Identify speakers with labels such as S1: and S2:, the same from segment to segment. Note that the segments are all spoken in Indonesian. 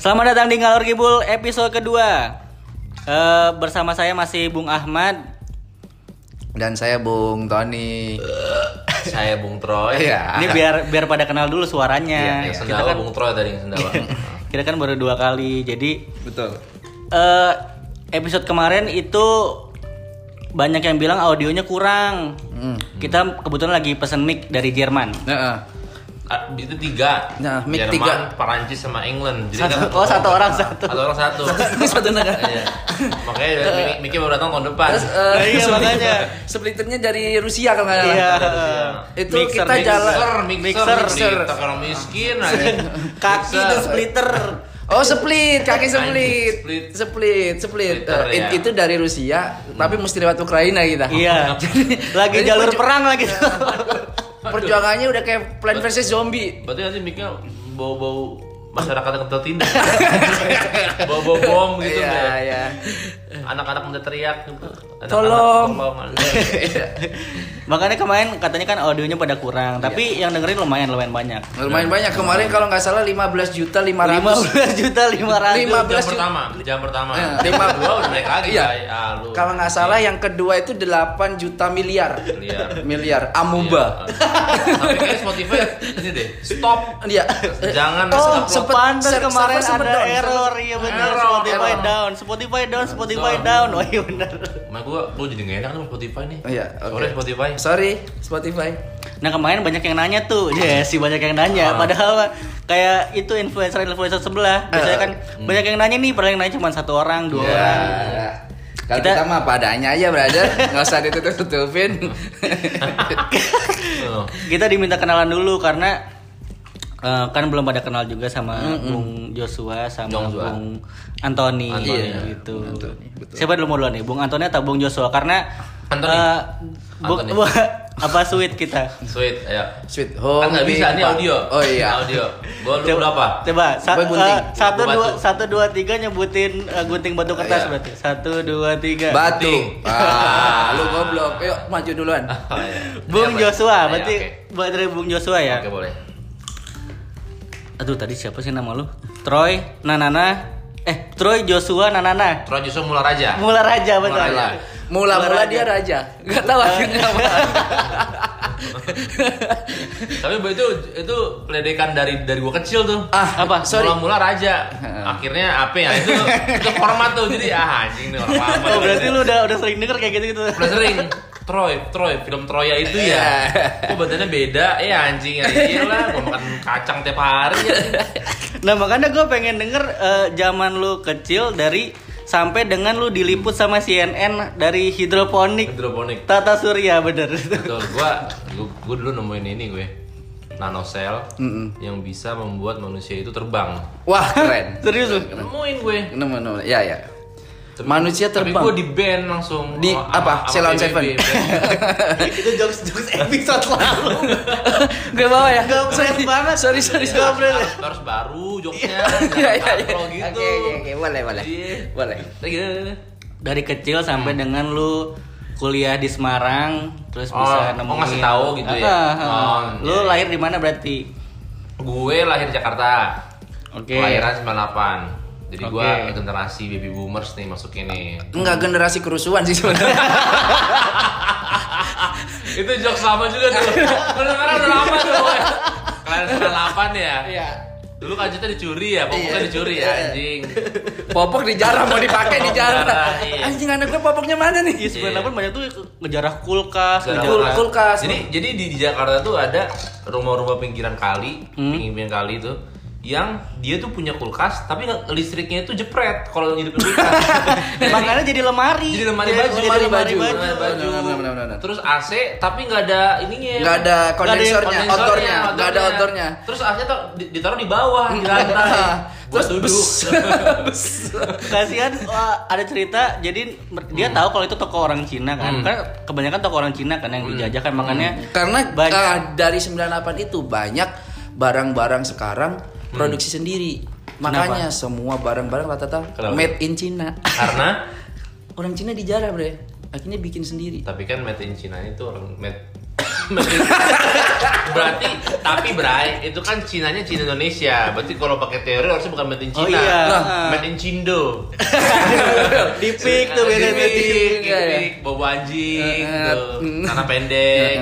S1: Selamat datang di Ngalor Kibul episode kedua. Eh, bersama saya masih Bung Ahmad.
S2: Dan saya Bung Tony.
S3: saya Bung Troy.
S2: Iya.
S1: Ini biar biar pada kenal dulu suaranya.
S3: Yang
S1: kita
S3: sendawa
S1: kan
S3: Bung Troy tadi yang sendawa.
S2: Iya.
S1: kita kan baru dua kali. Jadi
S2: Betul.
S1: eh, episode kemarin itu banyak yang bilang audionya kurang. Kita kebetulan lagi pesen mic dari Jerman.
S2: Nah,
S3: Ah, itu tiga.
S2: Nah, mic
S3: Jerman,
S2: tiga.
S3: Perancis sama England. Jadi
S1: Satu-
S3: nggak ketemu.
S1: oh, satu orang satu.
S3: Satu orang satu.
S2: ini satu negara.
S3: Iya. Makanya Mik- Miki baru datang tahun depan.
S2: Terus eh,
S1: Nah, iya,
S2: spliter-
S1: makanya.
S2: splitternya dari Rusia kalau nggak salah.
S1: Iya.
S2: Itu kita
S3: mixer,
S2: jalan.
S3: mixer,
S2: Mixer.
S3: mixer, mixer. orang miskin nah, iya. aja.
S1: Kaki
S3: Mixer.
S1: itu splitter.
S2: Oh split, kaki split,
S3: Split.
S2: split, split.
S3: Splitter, Hmm.
S2: Eh, it-
S3: ya.
S2: Itu dari Rusia, tapi mesti lewat Ukraina kita.
S1: Iya. Lagi
S2: jadi
S1: jalur
S2: perju-
S1: perang lagi.
S2: Perjuangannya udah kayak Plan versus Zombie.
S3: Berarti nanti Miki bau-bau masyarakat yang kental tindak. bau-bau bom gitu.
S2: Iya,
S3: Mbak.
S2: iya.
S3: Anak-anak udah teriak. gitu. Anak-anak,
S2: Tolong.
S3: tolong.
S1: Makanya kemarin katanya kan audionya pada kurang, tapi
S2: Iya.
S1: yang dengerin lumayan lumayan banyak.
S2: Lumayan banyak kemarin kalau nggak salah 15 juta 500
S1: 15 juta 500.
S2: Lima- 15
S3: jam
S2: juta.
S3: pertama, jam pertama.
S2: Iya.
S3: Jam kedua udah naik lagi.
S2: Iya.
S3: Bay. Ah, lu.
S2: Kalau nggak salah yang kedua itu 8 juta miliar.
S3: Miliar. Iya.
S2: Miliar
S3: Muba.
S2: amuba.
S3: Tapi kayaknya Spotify ini deh. Stop.
S2: Iya.
S3: Jangan
S2: Oh,
S3: upload.
S2: sempet
S1: Pantes
S2: ser-
S1: kemarin
S2: server sempet
S1: ada
S2: down,
S1: error,
S2: server-
S1: iya benar.
S3: Error,
S1: Spotify
S3: error.
S1: down, Spotify down, Spotify
S3: Down.
S1: down. Oh iya benar.
S3: Nah, gua gua jadi gak enak sama Spotify nih.
S2: Iya, oke.
S3: Sorry Spotify.
S2: Sorry, Spotify.
S1: Nah kemarin banyak yang nanya tuh, ya
S2: Iya.
S1: sih banyak yang nanya.
S3: Ah.
S1: Padahal kayak itu influencer influencer sebelah,
S2: Ah.
S1: biasanya kan
S2: Hmm.
S1: banyak yang nanya nih, padahal yang nanya cuma satu orang,
S3: Iya.
S1: dua
S2: Ya.
S1: orang.
S2: Kalau
S1: Kita-
S2: kita, mah padanya aja, brother. Nggak usah ditutup-tutupin.
S3: Oh.
S1: Kita diminta kenalan dulu karena eh, kan belum pada kenal juga sama Bung Joshua sama
S3: Joshua.
S1: Bung Anthony,
S3: Anthony,
S1: Iya,
S3: ya.
S1: gitu.
S2: Bung Anthony, betul.
S1: Siapa dulu mau duluan nih, Bung Anthony atau Bung Joshua? Karena
S3: Anthony.
S1: eh, bu-
S3: Anthony.
S1: bu- apa sweet kita?
S3: Sweet, ayo.
S2: Sweet
S3: Kan
S2: home.
S3: nggak bisa
S2: Big
S3: nih
S2: Bang.
S3: audio.
S2: Oh iya.
S3: Audio. Gua lu berapa?
S1: Coba sa-
S2: Gue gunting.
S1: eh, satu
S3: Gue
S1: dua
S3: batu.
S1: satu dua tiga nyebutin eh, gunting batu kertas
S2: Iya.
S1: berarti. Satu dua tiga.
S2: Batu.
S3: Ting.
S2: Ah, lu goblok. Yuk, maju duluan.
S3: Oh, iya.
S1: Bung
S3: Iya,
S1: Joshua,
S3: Iya,
S1: berarti
S3: oke.
S1: buat dari Bung Joshua ya.
S3: Oke, boleh.
S1: Aduh tadi siapa sih nama lu? Troy, Nanana, eh Troy Joshua Nanana.
S3: Troy Joshua Mula Raja.
S1: Mula Raja betul.
S3: Mula Raja.
S2: Mula-mula dia raja. Gak tahu akhirnya apa.
S3: Tapi itu itu peledekan dari dari gua kecil tuh.
S2: Ah,
S1: Apa?
S2: Sorry.
S3: Mula-mula raja, akhirnya apa ya? Itu itu format tuh. Jadi ah anjing nih orang apa?
S1: Oh berarti lu udah udah sering denger kayak gitu-gitu.
S3: udah sering Troy, Troy, film Troya itu
S2: Iya.
S3: ya. Kok badannya beda? Eh anjing ya. Iyalah, gua makan kacang tiap hari ya.
S1: Nah makanya gue pengen denger eh, zaman lu kecil dari sampai dengan lu diliput sama CNN dari hidroponik
S3: Hidroponik.
S1: Tata Surya bener.
S3: Betul. Gua, gua, gua dulu nemuin ini gue. Nanosel
S2: Mm-mm.
S3: yang bisa membuat manusia itu terbang.
S2: Wah, keren.
S1: Serius lu?
S3: Nemuin gue.
S2: Nemu, nemu. Ya, ya.
S3: Tapi-
S2: Manusia
S3: Tapi gue
S2: terbang.
S3: di ban langsung. Oh,
S2: Di
S3: sama-
S2: apa? Ceylon
S3: sama PBB.
S2: Seven.
S3: Iya.
S1: Itu jokes jokes episode lalu.
S2: Gak bawa ya?
S1: Gak keren banget.
S2: Sorry, sorry,
S3: Ya,
S2: sorry.
S3: harus baru joknya.
S2: Iya, iya, iya.
S3: Kalau gitu.
S2: Oke, oke, oke. Boleh, boleh.
S3: Iya.
S2: Boleh.
S3: Lagi-
S1: iya. Dari kecil sampai dengan lu kuliah di Semarang terus
S3: Oh,
S1: bisa
S3: oh,
S1: nemuin
S3: ngasih tahu gitu ya?
S1: Ah, ah, ah.
S3: Oh,
S1: lu
S3: iya, iya.
S1: lahir di mana berarti?
S3: Gue lahir Jakarta.
S1: Oke.
S3: Kelahiran 98. Jadi gue
S1: Oke.
S3: generasi baby boomers nih masuknya nih.
S2: Enggak generasi kerusuhan sih sebenarnya.
S3: Itu jokes lama juga tuh. Kedengaran udah lama tuh. pokoknya. Kelahiran 98 ya.
S2: Iya.
S3: Dulu kajetnya dicuri ya, popoknya
S2: Iya.
S3: dicuri ya anjing.
S2: Popok dijarah mau dipakai
S3: Popok
S2: dijarah.
S3: dijarah, iya.
S2: Anjing anak gue popoknya mana
S1: Iya,
S2: nih?
S1: sebenarnya pun banyak tuh ngejarah kulkas,
S3: Jarang
S1: ngejarah-
S2: Kul-
S3: banget.
S2: kulkas.
S3: Jadi jadi di, di Jakarta tuh ada rumah-rumah pinggiran kali,
S2: Hmm.
S3: pinggiran kali itu yang dia tuh punya kulkas tapi nggak- listriknya itu jepret kalau hidup kulkas.
S1: Makanya jadi lemari.
S3: jadi lemari
S1: Jadi-
S3: baju,
S1: jadi
S2: Iya, lemari baju.
S3: lemari baju.
S2: Benar, benar, benar, benar.
S3: Terus AC tapi nggak ada ininya.
S2: Nggak ada
S3: Nggak
S2: kondensornya, outdoornya, nggak ada outdoornya.
S3: Terus AC tuh di- ditaruh di bawah di lantai. Buat
S2: Terus
S3: duduk.
S2: bes. Bes.
S1: Kasihan wah, ada cerita jadi mer- dia tahu kalau itu toko orang Cina kan.
S3: Hmm.
S1: Karena kebanyakan toko orang Cina kan yang dijajah kan makanya
S2: Karena
S1: banyak
S2: ah, dari 98 itu banyak barang-barang sekarang
S3: Hmm.
S2: produksi sendiri. Makanya semua barang-barang rata-rata
S3: Kenapa?
S2: made in Cina. Ah,
S3: Karena
S2: Orang Cina dijarah, Bre. Akhirnya bikin sendiri.
S3: tapi kan made in China itu orang made berarti tapi Bray itu kan Cinanya Cina Indonesia. Berarti kalau pakai teori harusnya bukan made in
S1: Oh,
S3: Cina.
S1: iya.
S3: Nah,
S1: Ah.
S3: made in Cindo.
S1: di pick tuh beda
S3: Dipik,
S1: beda.
S3: dipik, bawa anjing,
S2: Eh,
S3: gitu.
S2: eh.
S3: Tanah pendek.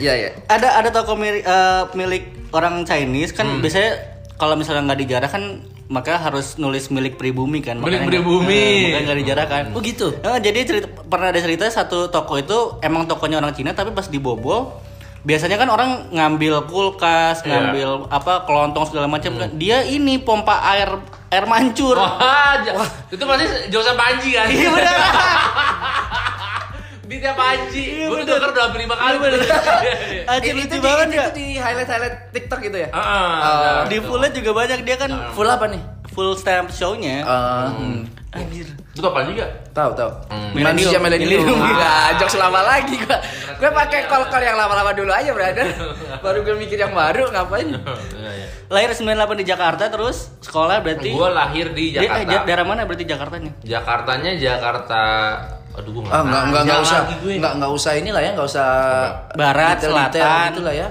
S2: Iya ya.
S1: Ada ada toko miri- eh, milik orang Chinese kan
S3: Hmm.
S1: biasanya kalau misalnya nggak dijarah kan maka harus nulis milik pribumi kan.
S3: Milik
S1: makanya-
S3: pribumi.
S1: Eh, Makanya nggak dijarah kan.
S2: Oh gitu.
S1: Eh, jadi cerita, pernah ada cerita satu toko itu emang tokonya orang Cina tapi pas dibobol biasanya kan orang ngambil kulkas,
S3: Iya.
S1: ngambil apa kelontong segala macam kan. Dia ini pompa air air mancur.
S3: Wah, ja- itu pasti Joseph Panji kan?
S1: Iya benar.
S3: Di tiap Panji. Gue denger udah hampir lima kali. Iya, iya.
S1: Anjir
S2: Eh,
S1: lucu
S2: di-
S1: banget
S2: itu
S1: ya.
S2: di highlight highlight TikTok gitu ya.
S3: Ah, ah,
S2: Eh,
S3: nah,
S1: Di
S3: itu.
S1: fullnya juga banyak dia kan
S2: Full apa nih?
S1: full stamp show-nya.
S3: Ah.
S2: Eh,
S1: Anjir.
S3: Itu apaan juga?
S2: tahu tahu.
S3: Hmm.
S2: Manusia milenium.
S1: Milenium.
S2: Gila, jokes lama lagi gua. Gue pakai kol-kol yang lama-lama dulu aja, brother. Baru gue mikir yang baru ngapain.
S3: Iya, iya.
S1: Lahir 98 di Jakarta terus sekolah berarti
S3: Gue lahir di
S1: Dia- eh,
S3: Jakarta.
S1: ja- daerah mana berarti Jakartanya?
S3: Jakartanya Jakarta aduh gue
S2: Ah, enggak, enggak, enggak usah.
S3: gue.
S2: Enggak, enggak usah inilah ya, enggak usah
S1: Barat, selatan.
S2: gitu lah ya.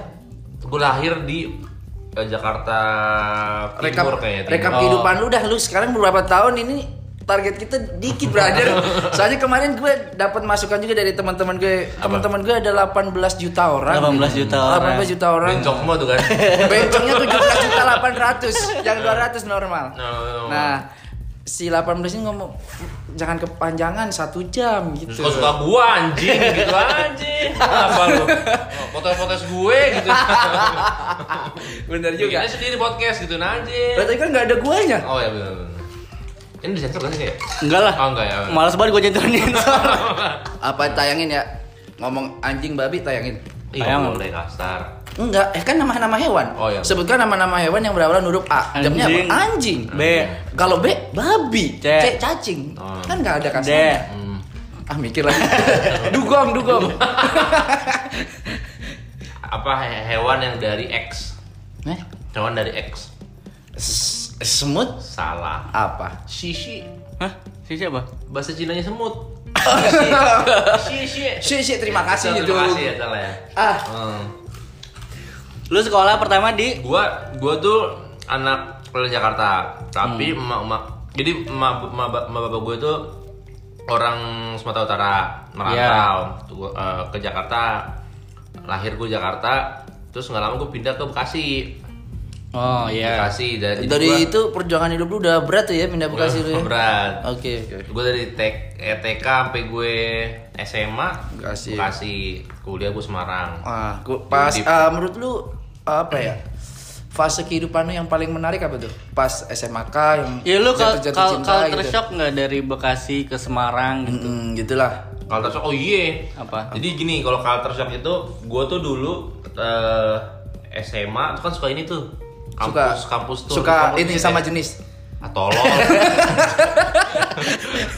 S3: Gue lahir di eh, Jakarta
S2: Rekap
S3: Timur kayaknya.
S2: rekap
S3: Timur.
S2: kehidupan lu dah lu sekarang berapa tahun ini target kita dikit brother. Soalnya kemarin gue dapat masukan juga dari teman-teman gue. Teman-teman gue ada 18 juta orang.
S1: 18 juta orang.
S2: 18 juta orang.
S3: Bencong semua tuh kan.
S2: Bencongnya 17 juta 800, yang 200 normal.
S3: No, no, no.
S2: Nah, si 18 ini ngomong jangan kepanjangan satu jam gitu.
S3: Suka suka gua anjing gitu anjing. Apa lu? Oh, Potes-potes gue gitu.
S2: Bener juga.
S1: Iya.
S3: Bikinnya sendiri podcast gitu nah, anjing.
S2: Berarti kan nggak ada guanya.
S3: Oh ya benar. benar. Ini disensor kan sih ya?
S1: Enggak lah.
S3: Oh enggak ya.
S1: Males banget gue jentuhin
S2: apa tayangin ya ngomong anjing babi tayangin
S3: Iya
S1: Bayang.
S3: boleh kasar.
S2: enggak eh kan nama-nama hewan
S3: Oh, iya.
S2: sebutkan nama-nama hewan yang berawalan huruf A jamnya apa
S1: Anjing.
S2: anjing
S1: B,
S2: kalau B babi
S1: C.
S2: C, cacing
S3: Oh.
S2: kan nggak ada
S1: D,
S2: kasarnya
S3: Hmm.
S2: ah mikir lagi dugong dugong
S3: Apa he- hewan yang dari X?
S2: eh
S3: Hewan dari X.
S2: s- semut
S3: Salah.
S2: apa
S3: Sisi
S1: Hah? Si siapa?
S3: bahasa Cinanya semut. Sisi.
S2: sih sih terima kasih
S3: Terima
S2: itu
S3: kasih ya salah ya.
S2: ah
S3: Hmm.
S1: Lu sekolah pertama di
S3: Gua gua tuh anak orang Jakarta, tapi
S2: Hmm.
S3: emak-emak jadi emak emak emak bapak gue tuh orang Sumatera Utara merantau
S2: Iya.
S3: Tuh gua, eh, ke Jakarta. Lahir gue Jakarta, terus nggak lama gue pindah ke Bekasi.
S1: Oh
S3: Bekasi dan jadi
S2: Iya. dari
S3: gua-
S2: itu perjuangan hidup lu udah berat tuh ya pindah bekasi lu ya oke
S3: berat.
S2: oke
S3: Gue dari TK, eh, TK sampai gue SMA
S2: Bekasi.
S3: Bekasi. Kuliah gue Semarang.
S2: Ah, gua- pas
S3: Jadi-
S2: ah, menurut lu apa ya? Fase kehidupan lu yang paling menarik apa tuh? Pas SMK yang
S1: Ya lu kal kal
S2: jatuh-jatuh
S1: culture
S2: gitu.
S1: shock nggak dari Bekasi ke Semarang gitu?
S2: Mm, gitulah.
S3: Culture shock, oh iya.
S1: Apa?
S3: Jadi gini, kalau culture shock itu, gue tuh dulu eh, SMA tuh kan suka ini tuh. Kampus,
S2: suka
S3: kampus tuh.
S2: suka
S3: kampus
S2: ini sama jenis.
S3: Ah, tolol.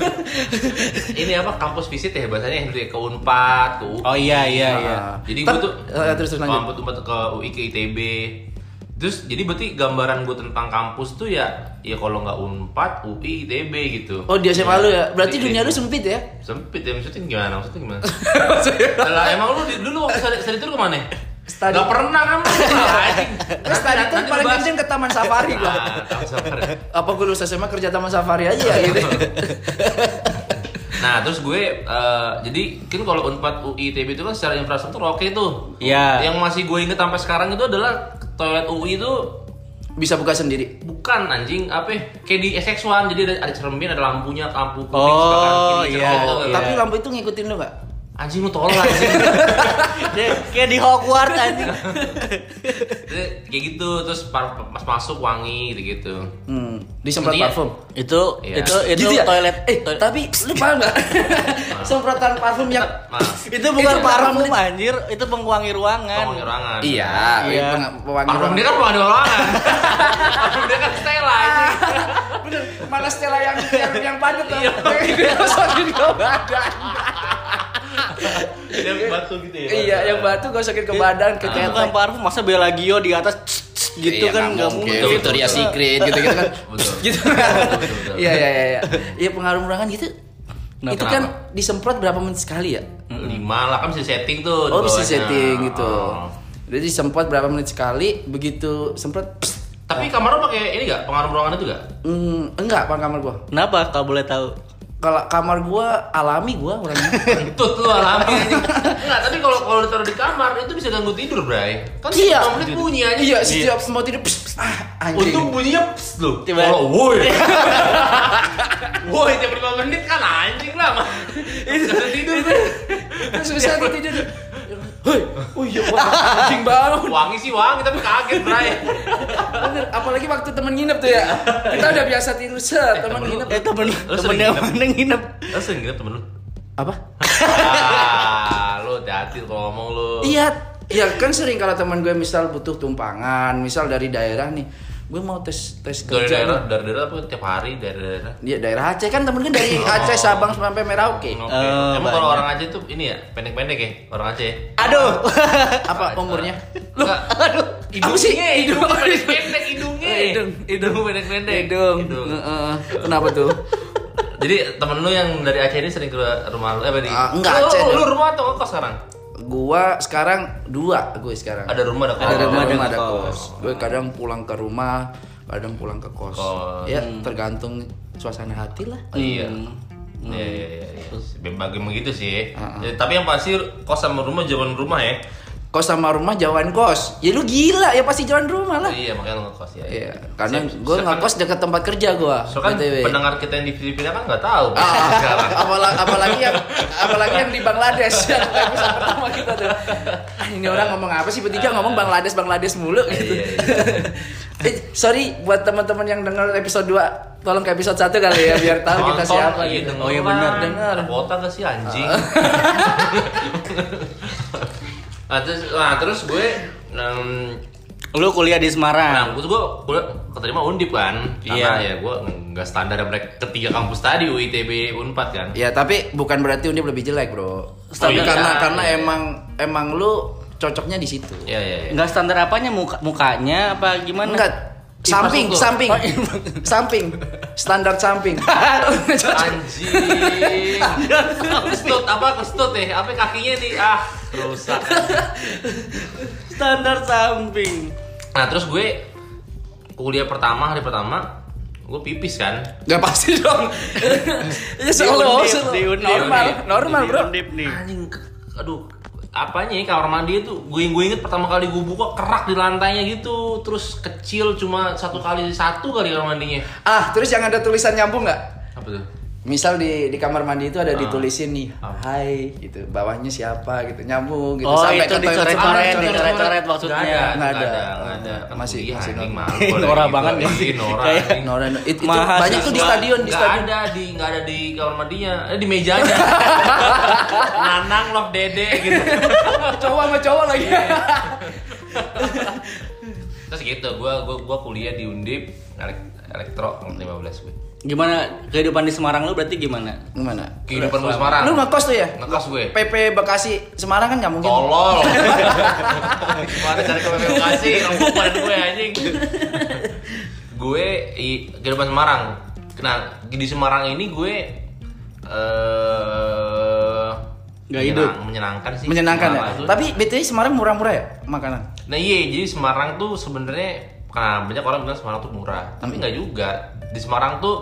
S3: ini apa kampus visit ya bahasanya yang dulu ya, ke Unpad, ke UI.
S1: Oh iya iya iya.
S2: Ah.
S3: Jadi
S2: Ter-
S3: gue tuh
S2: eh, terus terus lanjut.
S3: kampus tempat ke UI ke ITB. Terus jadi berarti gambaran gue tentang kampus tuh ya ya kalau nggak Unpad, UI, ITB gitu.
S2: Oh, di SMA lu ya. Berarti
S1: Iya.
S3: Jadi-
S2: dunia lu sempit ya?
S3: sempit ya maksudnya gimana maksudnya gimana lah emang lu di- dulu waktu study, study tour kemana
S2: Study-
S3: Gak pernah kan
S1: Iya.
S2: Terus tadi tuh paling kenceng ke taman safari gua.
S3: nah,
S2: Apa gue lulus SMA kerja taman safari aja ya gitu.
S3: nah terus gue eh, jadi kan kalau unpad UI ITB itu kan secara infrastruktur oke tuh
S1: Iya.
S3: yang masih gue inget sampai sekarang itu adalah toilet UI itu
S2: Bisa buka sendiri.
S3: bukan anjing apa ya, kayak di SX1 jadi ada, ada cermin ada lampunya lampu kuning
S1: Oh,
S3: sebelah kanan, kiri,
S1: iya,
S3: cermin, tau gak?
S1: Iya.
S2: Tapi lampu itu ngikutin lu gak?
S3: anjing lu tolol anjing
S1: Dia- Kayak di Hogwarts anjing.
S3: Jadi, kayak gitu terus par- pas masuk wangi gitu gitu
S2: Hmm, disemprot
S3: Intinya-
S2: parfum.
S1: itu
S3: Iya.
S1: itu itu
S2: Gitu ya?
S1: toilet.
S2: Eh,
S1: toilet-
S2: tapi lu paham gak? Semprotan parfum yang
S3: nah,
S1: itu bukan
S2: itu
S1: parfum
S2: parfum.
S1: anjir, itu pengwangi ruangan.
S3: Tolong ruangan
S2: Iya,
S1: Iya.
S2: peng- pewangi
S3: Parfum dia kan bukan di ruangan Parfum dia kan Stella anjing.
S2: Ah, Bener, mana Stella yang yang, yang padat tuh. Yang digosokin Iya. ke badan.
S3: Dia batu gitu ya
S2: Iya, yang batu gosokin ke badan, ke
S1: Itu bukan
S2: ketek.
S1: parfum, masa Bellagio di atas gitu
S2: Iya,
S1: kan nggak
S2: mungkin.
S1: mungkin.
S3: Betul,
S2: Victoria
S3: betul.
S2: Secret gitu-gitu kan.
S3: Betul.
S2: Gitu.
S3: Betul, betul, betul.
S2: Iya, iya, iya, iya. Iya, pengaruh ruangan gitu.
S1: Kenapa?
S2: Itu kan disemprot berapa menit sekali ya?
S3: lima lah kan bisa setting tuh di
S2: Oh bisa
S3: bawahnya.
S2: setting gitu.
S3: Oh.
S2: Jadi disemprot berapa menit sekali, begitu semprot, pst,
S3: tapi kamar lo pakai ini gak pengaruh ruangan itu gak
S2: mm, enggak pang kamar gua.
S1: Kenapa kalau boleh tahu?
S2: Kalau kamar gua alami gua orangnya. Iya.
S3: Kentut lu alami Enggak, tapi kalau kalau ditaruh di kamar itu bisa ganggu tidur, Bray. Kan
S2: Iya.
S3: setiap menit bunyi aja.
S2: iya, setiap mau tidur, pst, pst, ah, anjing.
S3: Untung bunyinya pss lu.
S1: Tiba-
S3: Kalau woi.
S2: Iya.
S3: woi, tiap 5 menit kan anjing lah. Mas. Bisa tidur.
S2: Terus bisa aku tidur. Hei, oh iya, wah, anjing bangun.
S3: Wangi sih wangi tapi kaget, Bray.
S2: Bener, apalagi waktu temen nginep tuh ya. Kita udah biasa tidur set, temen
S3: temen lu-
S2: nginep.
S1: Eh temen
S3: Lu
S1: temen
S3: sering
S1: yang
S3: nginep?
S1: mana nginep?
S3: Lu sering gitu temen lu.
S2: Apa?
S3: Ah, lu hati-hati kalau ngomong lu.
S2: Iya, ya kan sering kalau teman gue misal butuh tumpangan, misal dari daerah nih, gue mau tes tes
S3: Dari
S2: kerja.
S3: daerah,
S2: nih.
S3: dari daerah apa tiap hari dari daerah.
S2: Iya daerah Aceh kan temen gue dari Aceh Sabang sampai Merauke.
S3: Oke.
S1: Eh,
S3: Emang kalau
S1: banyak.
S3: orang Aceh tuh ini ya, pendek-pendek ya, orang Aceh. ya?
S1: Aduh.
S2: Apa umurnya?
S3: Lu, aduh,
S2: Apa sih?
S3: hidung pendek-pendek hidungnya.
S2: Eh, hidung,
S3: hidung pendek-pendek.
S2: Hidung. Heeh. Kenapa tuh?
S3: Jadi temen lu yang dari Aceh ini sering ke rumah lu eh dari
S2: Ah, enggak,
S3: Lu-
S2: Aceh.
S3: Lu, lu rumah atau ngekos sekarang?
S2: Gua sekarang dua gue sekarang.
S3: Ada rumah ada kos.
S2: ada rumah,
S1: ada
S2: ada, ada
S1: kos.
S2: kos. Gue kadang pulang ke rumah, kadang pulang ke kos.
S3: Kos. Hmm.
S2: Ya tergantung suasana hati lah.
S3: Oh, Iya.
S2: Hmm.
S3: Iya, iya, iya. iya. Bagi begitu sih.
S2: Ah,
S3: Ya, tapi yang pasti kos sama rumah jaman rumah ya.
S2: Kos sama rumah jauhan kos. Ya lu gila ya pasti jauhan rumah lah.
S3: Iya, makanya lu ngekos ya.
S2: Iya, karena
S3: Siap,
S2: gue
S3: siap, kan-
S2: ngekos dekat tempat kerja gue.
S3: So kan pendengar kita yang di Filipina kan nggak tahu
S2: Ah,
S3: sekarang.
S2: apalagi, apalagi yang apalagi yang di Bangladesh yang episode pertama kita tuh. Ah, ini orang ngomong apa sih bertiga ngomong Bangladesh Bangladesh mulu gitu.
S3: Iya,
S2: Eh, sorry buat teman-teman yang dengar episode 2 tolong ke episode 1 kali ya biar tahu kita
S3: Nonton,
S2: siapa
S3: iya,
S2: gitu.
S3: denger
S1: Oh, iya,
S3: lah.
S1: benar,
S2: dengar. Ah.
S3: Ada kuota gak sih anjing? nah, terus, nah, terus gue em,
S1: Lu kuliah di
S3: Nah,
S1: Semarang.
S3: gue gue gue keterima undip kan,
S2: Iya.
S3: karena ya gue nggak standar yang mereka ketiga kampus tadi UITB Unpad kan.
S2: Ya tapi bukan berarti Undip lebih jelek bro. Tapi
S3: iya.
S2: karena karena
S3: Iya.
S2: emang emang lu cocoknya di situ.
S3: Iya iya. iya.
S1: Enggak standar apanya muka mukanya apa gimana?
S2: Enggak, samping,
S3: Infrastruktur.
S2: samping,
S1: Oh, infrastruktur.
S2: samping, standar samping.
S3: Anjing. Kestut apa kestut ya? Apa kakinya nih? Ah, rusak.
S1: Standar samping.
S3: Nah, terus gue kuliah pertama hari pertama gue pipis kan.
S2: Gak pasti dong. ya solo,
S1: Diundip,
S2: solo.
S1: diundip.
S2: normal, normal bro.
S1: Diundip nih.
S3: Anjing, ke- aduh, apanya ya kamar mandi itu gue gue inget pertama kali gue buka kerak di lantainya gitu terus kecil cuma satu kali satu kali kamar mandinya
S2: Ah, terus yang ada tulisan nyambung nggak?
S3: apa tuh
S2: Misal di di kamar mandi itu ada
S3: Ah.
S2: ditulisin nih,
S3: Ah.
S2: hai gitu, bawahnya siapa gitu, nyambung gitu
S1: Oh,
S2: sampai
S1: itu
S2: ke toilet
S1: dicoret-coret,
S2: sana,
S1: dicoret.
S2: coret-coret.
S1: coret-coret maksudnya.
S3: Nggak
S2: Nggak
S3: ada,
S2: ada.
S3: nggak ada. Kan
S2: Masih-
S3: kuliah,
S2: masih
S3: anjing,
S2: normal.
S3: malu kalau
S1: Nora
S3: gitu.
S1: banget ya.
S3: Ih, Nora,
S1: Kayak
S3: anjing.
S2: Nah, udah, it- itu
S1: Mahasiswa.
S2: banyak tuh di stadion, di
S3: Nggak
S2: stadion.
S3: ada di nggak ada di kamar mandinya, eh, di mejanya. Nanang love dede gitu.
S2: cowok sama cowok lagi.
S3: Terus gitu, gua gua gua kuliah di Undip elek- elektro tahun 15 gue.
S1: Gimana kehidupan di Semarang lu berarti gimana?
S2: Gimana?
S3: Kehidupan gue Semarang.
S2: Lu ngekos tuh ya?
S3: Ngekos gue.
S2: PP Bekasi Semarang kan nggak mungkin.
S3: Tolol. Gimana cari ke PPK sih? Kamu pada gue anjing. gue i, kehidupan Semarang. Nah, di Semarang ini gue eh
S1: Nggak
S3: menyenang-
S1: hidup.
S3: Menyenangkan sih.
S2: Menyenangkan ya.
S3: Semarang tuh.
S2: Tapi BTW Semarang murah-murah ya makanan.
S3: Nah iya, jadi Semarang tuh sebenarnya karena banyak orang bilang Semarang tuh murah, tapi nggak juga. Di Semarang tuh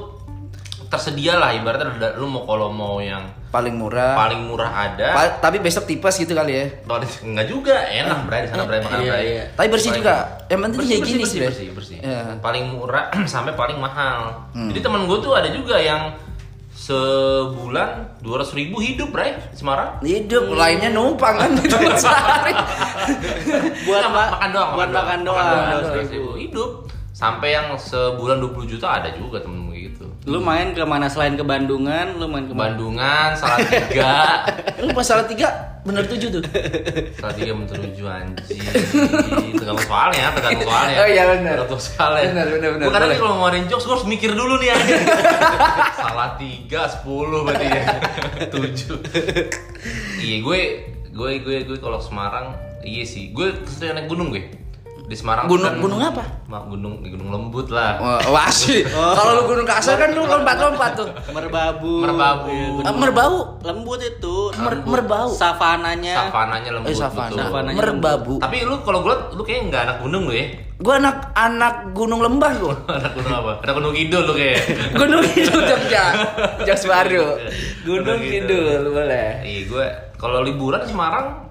S3: tersedia lah ibaratnya ada, lu mau kalau mau yang
S2: Paling murah.
S3: paling murah ada,
S2: Pa- tapi besok tipes gitu kali ya.
S3: paling nggak juga enak berarti di sana berarti makanan
S1: Iya,
S3: berarti.
S1: iya.
S2: Tapi bersih
S3: Paling-
S2: juga. Yang penting
S3: Bersih,
S2: kayak
S3: bersih,
S2: gini
S3: bersih,
S2: sih. Bre.
S3: bersih, bersih.
S2: Iya.
S3: Paling murah sampai paling mahal. Jadi teman gue tuh ada juga yang sebulan 200.000 ribu hidup, right? Semarang.
S2: Hidup lainnya numpang kan gitu sehari.
S1: Buat
S3: Nggak,
S1: ma-
S3: makan doang,
S1: buat makan doang.
S3: doang, 200.000. hidup. Sampai yang sebulan 20 juta ada juga temen gue gitu.
S1: Lu main ke mana selain ke Bandungan? Lu main ke
S3: Ke
S1: mana?
S3: Bandungan, Salatiga,
S2: Lu pas salah tiga bener tujuh tuh.
S3: Salatiga menuju anjing. Tergantung soalnya, tergantung soalnya.
S2: Oh, iya, benar.
S3: Tergantung soalnya.
S2: Benar, benar, benar,
S3: Bukan nanti
S2: boleh.
S3: kalau mau ngadain jokes gue harus mikir dulu nih anjing. Salatiga 10 berarti ya. 7. iya, gue gue gue gue kalau Semarang iya sih. Gue sering naik gunung gue. di Semarang
S2: Gunung-
S3: kan-
S2: gunung apa?
S3: Ma- gunung gunung lembut lah
S2: Wah, wah, sih.
S3: Oh.
S2: Kalau lu gunung kasar kan lu lompat-lompat tuh.
S1: merbabu
S3: Merbabu.
S1: Iya,
S2: Eh, Merbau.
S1: lembut itu
S2: Mer- merbau.
S1: savananya
S3: savananya lembut
S2: Eh, savana.
S3: betul.
S1: Savananya
S2: Merbabu.
S3: tapi lu kalau gue lu kayaknya nggak anak gunung lu ya
S2: Gua anak anak gunung lembah gua.
S3: anak gunung apa anak gunung kidul lu kayak
S2: Gunung Kidul Jogja. Jos baru. Gunung Kidul boleh.
S3: iya gue kalau liburan Semarang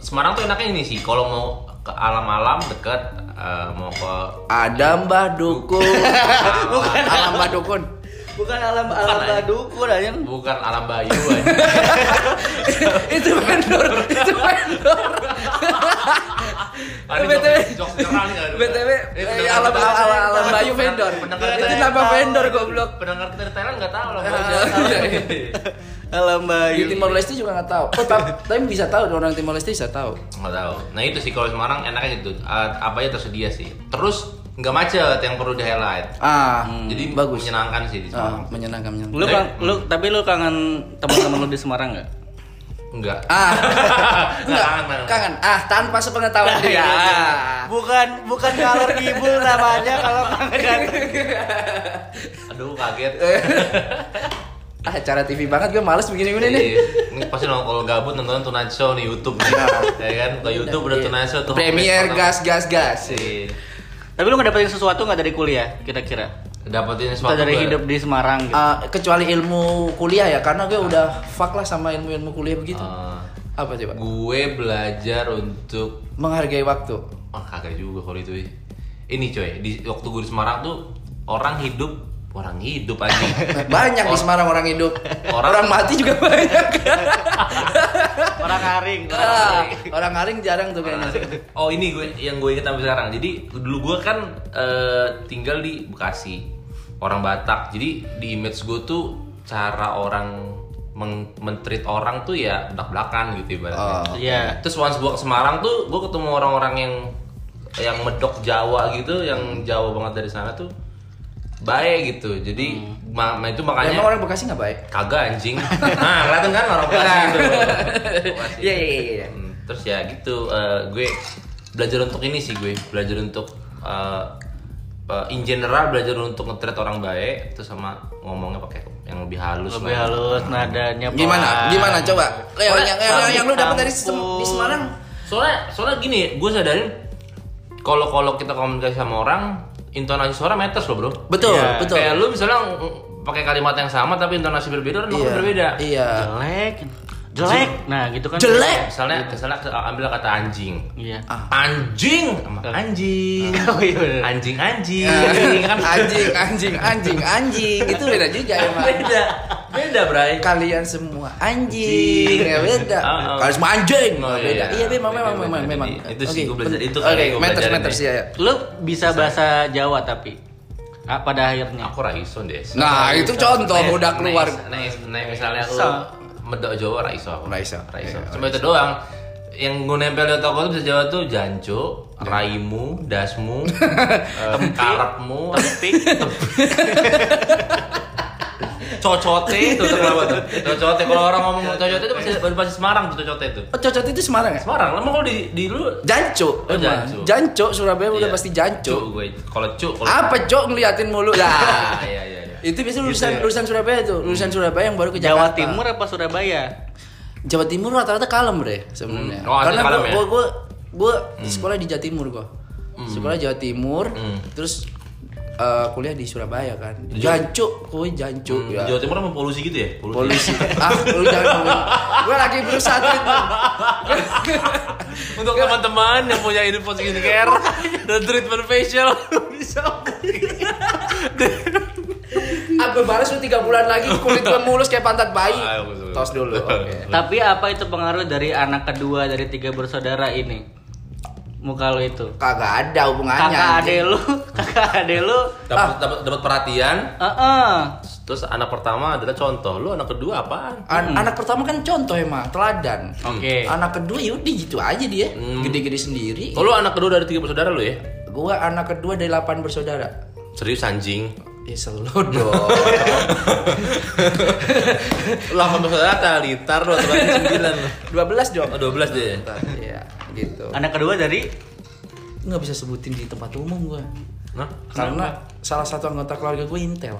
S3: Semarang tuh enaknya ini sih kalau mau ke alam-alam dekat eh, mau ke
S2: Ada Mbah Dukun. Bukan alam Mbah Dukun.
S1: bukan alam alam
S3: aja.
S1: badukun aja
S3: bukan alam bayu aja.
S2: itu vendor, itu vendor.
S3: Ada jok-
S2: BTW,
S3: jok nyerang nggak ada?
S2: BTW,
S3: Eh,
S2: eh,
S3: pendengar
S2: alam
S3: kita-
S2: alam alam Bayu
S3: pendengar-
S2: vendor.
S3: pendengar
S2: Itu
S3: kita-
S2: nama vendor goblok.
S3: Pendengar kita di Thailand nggak tahu lah.
S2: Ah,
S3: Bang.
S2: iya.
S1: alam
S2: Di
S1: bayu
S2: Timor Leste juga nggak tahu. Oh, ta- tapi bisa tahu orang Timor Leste bisa tahu.
S3: Nggak tahu. Nah itu sih kalau Semarang enaknya gitu. Eh, apa aja tersedia sih. Terus nggak macet yang perlu di highlight.
S2: Ah,
S3: Hmm, Jadi
S2: bagus.
S3: menyenangkan sih di
S2: Ah,
S3: Semarang.
S2: menyenangkan menyenangkan.
S1: lu kang lu tapi lu kangen teman-teman lu di Semarang nggak
S3: Enggak.
S2: Ah,
S3: Nggak,
S2: enggak,
S3: Nah, kangen, Iya, kangen.
S2: kangen. Ah, tanpa sepengetahuan dia.
S1: Iya. bukan bukan kalau ibu namanya kalau kangen
S3: Aduh kaget.
S2: Ah, acara TV banget gue males begini-begini nih.
S3: Iya. Ini pasti nong- kalau gabut nonton Tonight Show di YouTube nih. ya kan? Ke YouTube udah Tonight Show
S2: Iya.
S3: tuh.
S2: Premier
S3: Pertama.
S2: gas gas gas.
S3: Iya.
S1: tapi lu ngedapetin sesuatu nggak dari kuliah kira-kira
S3: Dapetin
S1: Kita
S3: sesuatu
S1: dari
S2: ya?
S3: nggak?
S1: hidup di Semarang gitu.
S2: Ah, kecuali ilmu kuliah ya karena gue udah fuck lah sama ilmu-ilmu kuliah begitu.
S3: Eh,
S2: Apa coba?
S3: gue belajar untuk
S2: Menghargai waktu.
S3: Wah kagak juga kalau itu ya. Ini coy, di waktu gue di Semarang tuh orang hidup orang hidup aja.
S2: Banyak di Semarang orang hidup.
S3: Orang-
S2: Orang mati juga banyak.
S1: Orang karing.
S2: Ah, orang ngaring jarang tuh kayaknya.
S3: Oh ini gue yang gue inget sampai sekarang. Jadi dulu gue kan eh, tinggal di Bekasi, orang Batak. Jadi di image gue tuh cara orang meng- mentreat orang tuh ya belak belakan gitu
S2: Oh,
S3: ibaratnya.
S1: Iya.
S3: Terus once gue ke Semarang tuh gue ketemu orang-orang yang yang medok Jawa
S2: Hmm.
S3: gitu, yang Jawa banget dari sana tuh baik gitu. Jadi ma- ma- itu makanya
S2: Hmm. Emang orang Bekasi nggak baik?
S3: kagak anjing nah kelihatan kan orang Bekasi itu Bekasi.
S2: Iya iya iya, iya.
S3: Hmm, terus ya gitu eh, gue belajar untuk ini sih gue belajar untuk eh, eh, in general belajar untuk nge-treat orang baik terus sama ngomongnya pakai yang lebih halus
S1: Lebih
S3: lah.
S1: halus nadanya. pelan.
S2: Gimana? Gimana coba? Leo,
S3: Soalnya-
S2: yang, yang, yang lu dapat dari Sem-
S1: Ampun.
S2: di Semarang?
S3: soalnya soalnya gini gue sadarin kalau kalau kita komunikasi sama orang intonasi suara matters loh bro
S2: Betul,
S1: Iya.
S2: betul.
S3: kayak lu misalnya mm, pakai kalimat yang sama tapi intonasi berbeda orang bakal berbeda
S2: Iya.
S1: Jelek. Jelek. Nah, gitu kan.
S2: Jelek.
S3: misalnya misalnya ambil kata anjing
S1: Iya.
S3: anjing sama anjing
S1: Oh, iya bener.
S3: anjing anjing
S2: Anjing,
S3: kan
S2: Iya. anjing, anjing, anjing, anjing. Itu beda juga ya, emang.
S3: beda beda bray
S2: Kalian semua anjing, ya beda.
S3: Ah, ah.
S2: Kalian semua anjing,
S3: Oh,
S2: beda. Iya,
S3: iya.
S2: memang,
S3: Beda,
S2: memang,
S3: beda,
S2: memang,
S3: beda.
S2: memang.
S3: Itu sih
S2: Oke,
S3: gua belajar, itu
S2: Oke,
S3: kali gua
S2: matters,
S3: belajarin
S2: matters,
S3: nih.
S2: ya. ya.
S1: Lu bisa bahasa Jawa tapi Ah, pada akhirnya.
S3: aku raison deh
S2: Nah, itu contoh
S3: Nah,
S2: udah
S3: nah,
S2: keluar.
S3: nah, nah, misalnya aku
S1: So.
S3: medok jawa raiso aku
S2: Raiso.
S3: raiso
S2: Iya,
S3: cuma itu doang yang gue nempel di otak gue tuh bisa jawa tuh janco
S2: Iya.
S3: raimu dasmu em, karepmu
S1: Tapi
S3: cocote itu tuh kenapa tuh cocote kalau orang ngomong cocote itu pasti pasti Semarang tuh cocote itu
S2: Oh, cocot itu Semarang ya?
S3: Semarang lama kalau di di lu
S2: Janco,
S3: Oh,
S2: emang.
S3: Janco.
S2: Janco, Surabaya udah
S3: Iya.
S2: pasti janco.
S3: Cuk gue kalau cuk kalau
S2: Apa cok ngeliatin mulu lah?
S3: Ah, iya iya iya.
S2: itu biasanya lulusan lulusan Surabaya tuh, lulusan Surabaya yang baru ke
S1: Jawa
S2: Jakarta. Iya.
S1: Timur apa Surabaya?
S2: Jawa Timur rata-rata kalem bre sebenarnya.
S3: Hmm. Oh, ada
S2: Karena
S3: kalem
S2: gua,
S3: ya?
S2: gua, gua, gua sekolah di Jawa Timur gua. Sekolah Jawa Timur,
S3: Hmm.
S2: terus eh, kuliah di Surabaya kan. Jancuk, kuy jancuk ya.
S3: Hmm, Jawa Timur emang polusi gitu ya?
S2: Polisi. ah, lu jangan ngomong. Gua lagi berusaha tweet.
S3: Untuk teman-teman yang punya hidup post
S2: Iya,
S3: skincare dan treatment facial bisa.
S2: Ah, gua balas lu 3 bulan lagi kulit gua mulus kayak pantat bayi.
S3: Ah, ayo, betul.
S2: Tos dulu. Oke.
S1: Tapi apa itu pengaruh dari anak kedua dari tiga bersaudara ini? Muka lu itu.
S2: Kagak ada hubungannya.
S1: Kakak
S2: anjing.
S1: ade lu, kakak ade lu. eh,
S3: Dapat dapat dapat perhatian.
S1: Heeh.
S3: Terus anak pertama adalah contoh, lu anak kedua apaan?
S2: An- Anak pertama kan contoh emang, teladan.
S1: Oke.
S2: Anak kedua yaudah gitu aja dia,
S3: Hmm.
S2: gede-gede sendiri.
S3: Oh, lu anak kedua dari tiga bersaudara lu ya?
S2: Gua anak kedua dari 8 bersaudara.
S3: Serius anjing.
S2: Ya selo dong.
S3: Lu apa bersaudara talitar lu atau sembilan lu?
S2: 12 dong.
S3: Oh, 12 deh.
S2: Iya, gitu.
S1: Anak kedua dari
S2: nggak bisa sebutin di tempat umum gue
S3: Nah,
S2: karena salah satu anggota keluarga gue Intel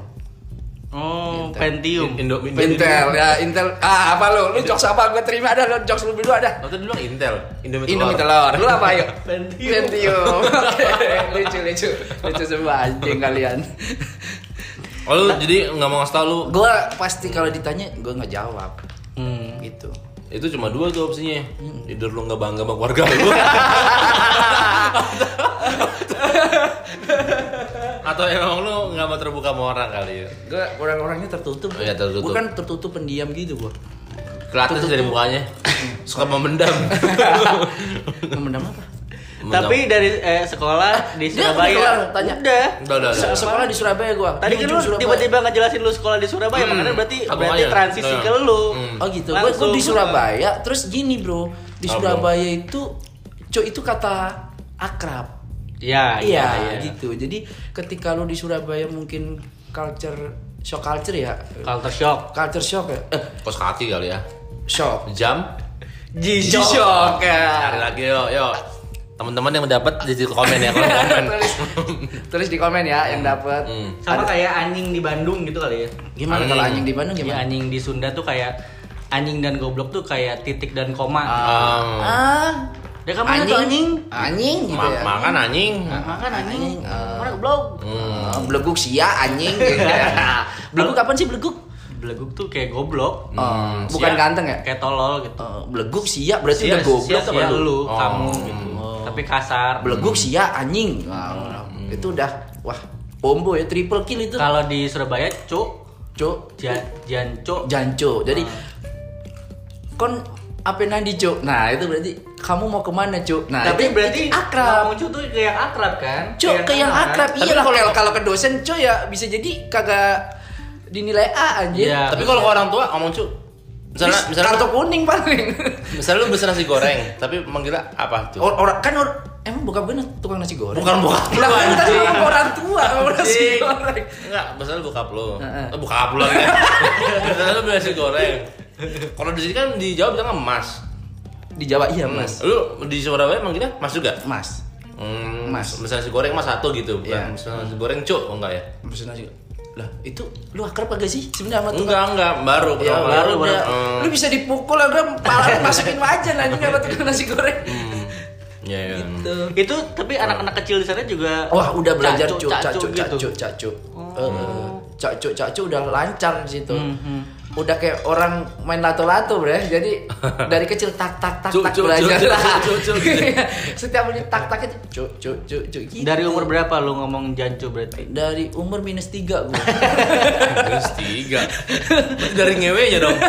S1: Oh, Pentium.
S3: Indo Indo-
S2: Intel ya Intel ah apa lu lu jokes apa gue terima ada lu jokes lebih dulu ada
S3: Waktu dulu bilang Intel, Indomie
S2: Indomie
S3: telur.
S2: telur lu apa yuk
S1: Pentium.
S2: Pentium Oke, lucu lucu lucu semua anjing kalian
S3: Oh lu jadi nggak mau ngasih tau lu
S2: gue pasti kalau ditanya gue nggak jawab
S1: Hmm.
S2: gitu
S3: itu cuma dua tuh opsinya.
S2: Hmm.
S3: Either lu nggak bangga sama keluarga lu. Atau emang lu nggak mau terbuka sama orang kali ya.
S2: gue orang-orangnya tertutup
S3: Oh, iya, tertutup.
S2: bukan tertutup pendiam gitu gue
S3: Kelihatan sih dari mukanya. Suka memendam.
S2: memendam apa
S1: Tapi dari eh, sekolah di
S2: Dia kelar,
S1: Surabaya.
S2: tanya.
S1: Udah.
S3: Udah, udah, udah.
S2: Se- sekolah di Surabaya gue
S1: Tadi kan lu tiba-tiba ngejelasin lu sekolah di Surabaya,
S3: Hmm,
S1: makanya berarti
S3: apa
S1: berarti
S3: aja?
S1: transisi
S3: Iya.
S1: ke lu.
S3: Hmm.
S2: Oh gitu. Gue
S1: Langsung.
S2: di Surabaya. Terus gini bro, di
S3: Apa?
S2: Surabaya itu cu itu kata akrab.
S1: Iya, iya,
S3: Ah,
S2: Iya,
S1: iya.
S2: gitu. Jadi ketika lu di Surabaya mungkin culture shock culture ya.
S1: Culture shock.
S2: Culture shock ya. Eh,
S3: Kos kaki kali ya.
S2: shock.
S3: Jam.
S2: G-shock.
S3: Cari lagi yo yo. Teman-teman yang mendapat di situ komen ya, komen. komen.
S2: tulis, tulis di komen ya yang dapat.
S3: Hmm.
S1: Sama kayak anjing di Bandung gitu kali ya.
S2: Gimana kalau
S3: Anjing.
S2: anjing di Bandung
S1: Ya,
S3: Iya,
S2: gimana?
S1: anjing di Sunda tuh kayak anjing dan goblok tuh kayak titik dan koma.
S3: Um,
S2: Ah,
S1: Dia kan mana tuh anjing?
S2: Anjing gitu
S3: ma-
S2: ya.
S3: makan anjing.
S1: Makan anjing. Hmm,
S2: Anjing, eh.
S1: Mana goblok?
S2: Ah, beleguk sih ya anjing. beleguk kapan sih beleguk?
S1: Beleguk tuh kayak goblok.
S2: Oh, bukan
S3: Hmm, siap.
S2: ganteng ya?
S1: Kayak tolol gitu.
S2: Eh, beleguk sih ya berarti udah goblok
S1: sia,
S2: apa
S1: sia
S2: lu?
S1: lu, Hmm.
S3: Oh.
S1: kamu gitu. Tapi kasar.
S2: Beleguk sih ya anjing. Wah,
S1: Hmm.
S2: Itu udah wah combo ya triple kill itu.
S1: Kalau di Surabaya, cuk,
S2: Cok,
S1: jan, janco.
S2: janco. Jadi kon apa nanti cok? Nah itu berarti kamu mau kemana cok? Nah
S1: Tapi
S2: itu-
S1: berarti
S2: itu akrab.
S1: Ngomong cuk tuh ke yang akrab kan?
S2: Cok ke yang
S1: kenal.
S2: akrab iya kalau kalau ke dosen cok ya bisa jadi kagak dinilai A anjir.
S1: Iya.
S3: Tapi kalau ke orang tua ngomong cu. Misalnya,
S2: Bis-
S3: misalnya,
S2: kartu kuning paling.
S3: misalnya lu pesen nasi goreng, tapi manggilnya apa tuh?
S2: Or- orang kan or- emang bokap gue tukang nasi goreng.
S3: Bukan bokap lu,
S2: Lah, kan tadi
S3: anjing.
S2: ngomong ke orang tua ngomong nasi
S3: Anjing.
S2: goreng.
S3: Enggak, misalnya bokap lu.
S2: Heeh.
S3: Eh, bokap lu ya. misalnya lu beli nasi goreng. Kalau di sini kan di Jawa bilangnya mas.
S2: Di Jawa iya mas.
S3: Lu di Surabaya manggilnya mas juga?
S2: Mas.
S3: Hmm,
S2: Mas.
S3: Misalnya nasi goreng mas satu gitu,
S2: Iya.
S3: bukan misalnya nasi goreng cu, oh, enggak ya?
S2: Maksudnya nasi Lah itu lu akrab agak sih sebenarnya sama tukang?
S3: Enggak, enggak, baru.
S2: Ya,
S3: pertama kali.
S2: baru udah.
S3: Hmm.
S2: Lu bisa dipukul lah gue malah masukin wajan anjing sama tukang nasi goreng.
S3: Iya, iya.
S2: Gitu.
S1: Itu tapi anak-anak kecil di sana juga
S2: Wah udah belajar
S1: cacuk,
S2: cuk cacuk
S1: gitu.
S2: cacuk cacuk.
S3: Oh.
S2: Eh, Cacuk cacuk udah lancar di situ.
S3: Hmm,
S2: Udah kayak orang main lato-lato bre. Jadi dari kecil tak tak tak
S3: Cuk,
S2: tak
S3: cuk,
S2: belajar
S3: cuk,
S2: lah.
S3: cuk, cuk, cuk, gitu.
S2: Setiap menit tak tak itu cuk cuk cuk cuk. gitu.
S1: Dari umur berapa lu ngomong jancu berarti?
S2: dari umur minus tiga gua.
S3: Terus tiga. Berarti Dari ngewe ya dong.